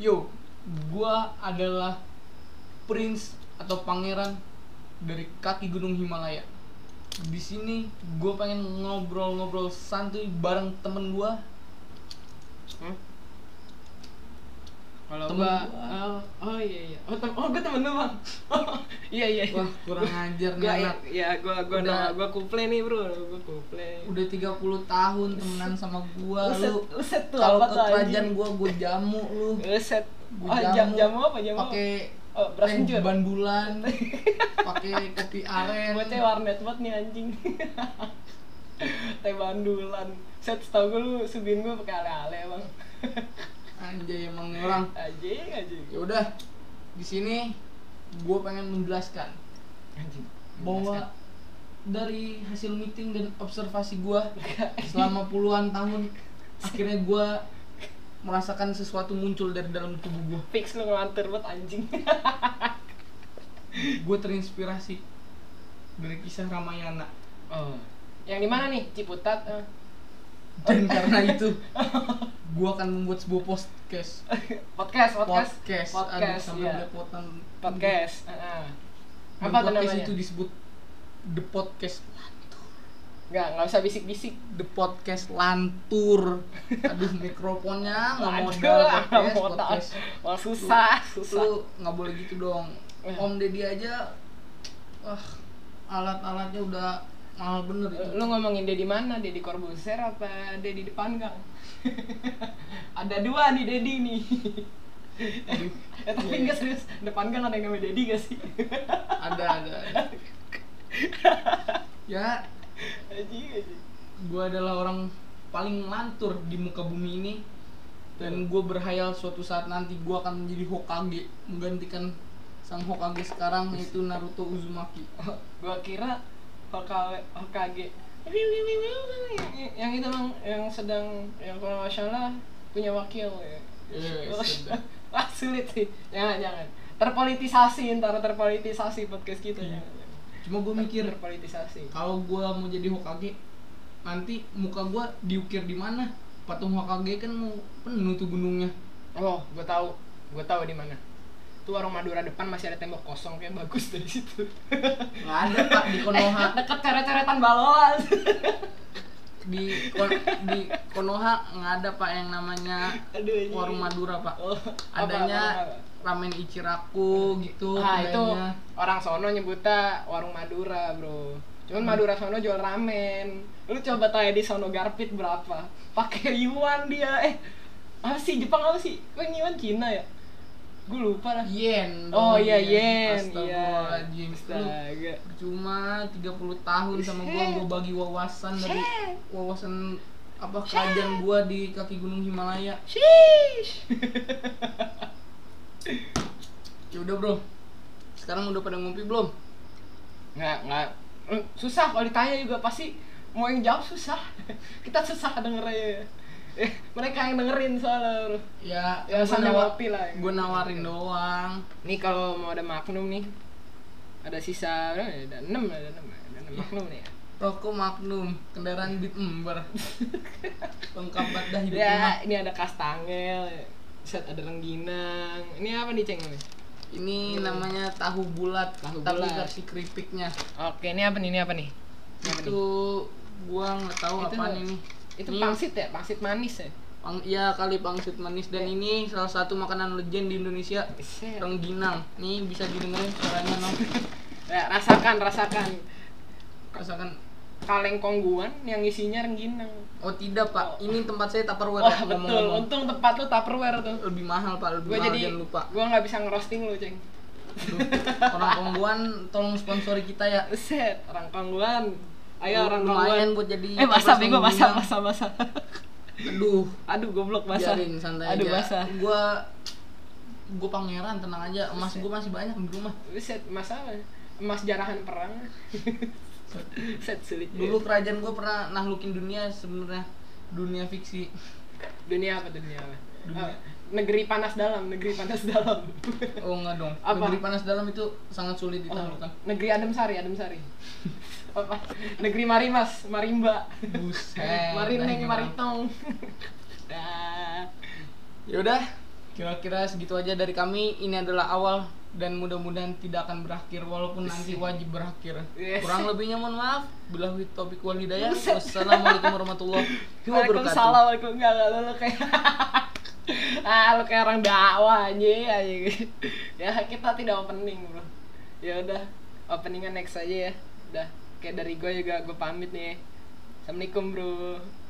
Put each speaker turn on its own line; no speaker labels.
yo gua adalah prince atau pangeran dari kaki gunung Himalaya di sini gue pengen ngobrol-ngobrol santuy bareng temen gue
Hmm? Kalau
Temen
gua,
gua.
oh, oh iya iya. Oh, tem oh gua temen lu, Bang. iya iya.
wah kurang ajar nih
Gua
anak
ya gua gua
Udah.
udah gua kuple nih, Bro. Gua kuple.
udah 30 tahun temenan sama gue lu
uset tuh
kalau
apa
ke
tuh
kerajaan
anjing?
gue gue jamu lu
Uset.
Gua
Oh, jam jamu apa jamu?
pakai
oh, beras
teh
kencur.
ban bulan pakai kopi aren
Gue teh warnet banget nih anjing. teh bandulan. Set tau gue lu subihin gue pakai ale-ale, Bang.
anjay emang nih orang
Anjing, anjing.
ya udah di sini gue pengen menjelaskan
Anjing.
bahwa dari hasil meeting dan observasi gua selama puluhan tahun akhirnya gua merasakan sesuatu muncul dari dalam tubuh gua
fix lu ngelantur banget anjing.
Gua terinspirasi dari kisah Ramayana
Oh. Yang di mana nih? Ciputat. eh.
dan karena itu gua akan membuat sebuah podcast
Podcast, podcast.
podcast, aduh
podcast,
sampai
iya.
belepotan
Podcast. heeh.
Dan
Apa tuh
podcast
namanya?
itu disebut the podcast
Enggak, enggak usah bisik-bisik.
the podcast lantur aduh mikrofonnya nggak
Aduh,
modal
nggak
podcast
modal.
podcast
Wah, susah, susah.
lu nggak boleh gitu dong
Eh.
om deddy aja wah alat-alatnya udah mahal bener
Lu,
itu
lu ngomongin Deddy mana? Deddy Corbuzier apa Deddy depan gang? ada dua nih Deddy nih.
Aduh,
Eh, tapi
Iya.
enggak serius, depan gang ada yang namanya Deddy gak sih?
ada ada ada. ya
Anjing, anjing.
gue adalah orang paling lantur di muka bumi ini dan gue berhayal suatu saat nanti gue akan menjadi Hokage menggantikan sang Hokage sekarang yaitu Naruto Uzumaki
gua kira Hokage Hokage Yang- yang itu bang yang sedang yang kalau nggak salah punya wakil ya.
Iya, sedang.
Wah sulit sih jangan jangan terpolitisasi ntar terpolitisasi podcast kita
Iya.
jangan, jangan.
cuma gue mikir
terpolitisasi
kalau gue mau jadi Hokage nanti muka gue diukir di mana patung Hokage kan mau penuh tuh gunungnya
oh gua tahu gua tahu di mana tuh warung Madura depan masih ada tembok kosong kayak bagus dari situ
nggak ada pak di Konoha
deket coret-coretan balolan
di Kon- di Konoha nggak ada pak yang namanya
aduh anjing.
warung Madura pak
oh, apa, warung
adanya
apa?
ramen Ichiraku gitu
ah itu
kedainya.
orang sono nyebutnya warung Madura bro cuman Madura sono jual ramen lu coba tanya di sono garpit berapa pakai yuan dia eh apa sih Jepang apa sih kan yuan Cina ya gue lupa lah
yen
oh
dong,
iya yen iya
Astagfirullahaladzim Lu
astaga
cuma 30 tahun sama gua gua bagi wawasan dari wawasan apa kerajaan gua di kaki gunung Himalaya
Sheesh.
ya udah bro sekarang udah pada ngopi belum
nggak nggak Eh, susah kalau ditanya juga pasti mau yang jawab susah kita susah dengernya Eh, mereka yang dengerin soalnya bro
ya
Ya,
gua
Gitu. sambil
nawa-
ngopi lah.
gua nawarin doang
Nih kalau mau ada Magnum nih. Ada sisa berapa ya? ada 6 ada 6 ada 6 Magnum nih ya.
rokok Magnum kendaraan Bit Ember lengkap banget dah hidup
Ya,
emak.
ini ada kastangel, set ada rengginang. Ini apa nih, Ceng? namanya?
ini namanya tahu bulat
Tahu
tapi
bulat.
versi keripiknya
Oke, ini apa nih? Ini apa nih? Ini apa nih?
itu gua nggak tahu
Itu-
apaan ini
Itu
ini-
pangsit ya, pangsit manis ya.
Pang- iya kali pangsit manis dan ini salah satu makanan legend di Indonesia
Set.
rengginang nih bisa didengerin suaranya no
Ya, rasakan, rasakan.
rasakan
Kaleng kongguan yang isinya rengginang.
oh tidak pak ini tempat saya tupperware ya,
Wah, Oh, betul.
ngomong-ngomong.
Untung tempat lu Tupperware tuh.
lebih mahal pak lebih
Gue
mahal
jadi
jangan lupa
gue nggak bisa ngerosting lu, Ceng.
Aduh, orang kongguan tolong sponsori kita ya
Set, orang kongguan. Ayo orang kongguan.
lumayan buat jadi
Eh basah
kipas
bego basah
penggilingan.
basah basah.
aduh
Aduh goblok basah.
biarin santai
Aduh
aja
basah.
gua gua pangeran tenang aja emas gua masih banyak di rumah
Set masalah. Emas jarahan perang. Set sulit.
dulu kerajaan gua pernah naklukin dunia sebenarnya dunia fiksi
dunia apa dunia apa?
Dunia.
Ah, negeri panas dalam, negeri panas dalam.
oh enggak dong
Apa?
negeri panas dalam itu sangat sulit ditaklukkan
Oh, negeri Adem Sari, Adem Sari. apa? Negeri Marimas, Marimba.
buset
Marineng,
Nah,
Maritong. Dah.
yaudah Ya Kira-kira segitu aja dari kami. Ini adalah awal dan mudah-mudahan tidak akan berakhir walaupun nanti wajib berakhir.
Yes.
Kurang lebihnya mohon maaf. Bila topik wal hidayah. Wassalamualaikum warahmatullahi wabarakatuh.
Waalaikumsalam, waalaikumsalam. Enggak, enggak, lu- lu kayak ah lu kayak orang dakwah anjing anjing. ya kita tidak opening bro ya udah openingan next aja ya udah kayak dari gue juga gue pamit nih assalamualaikum bro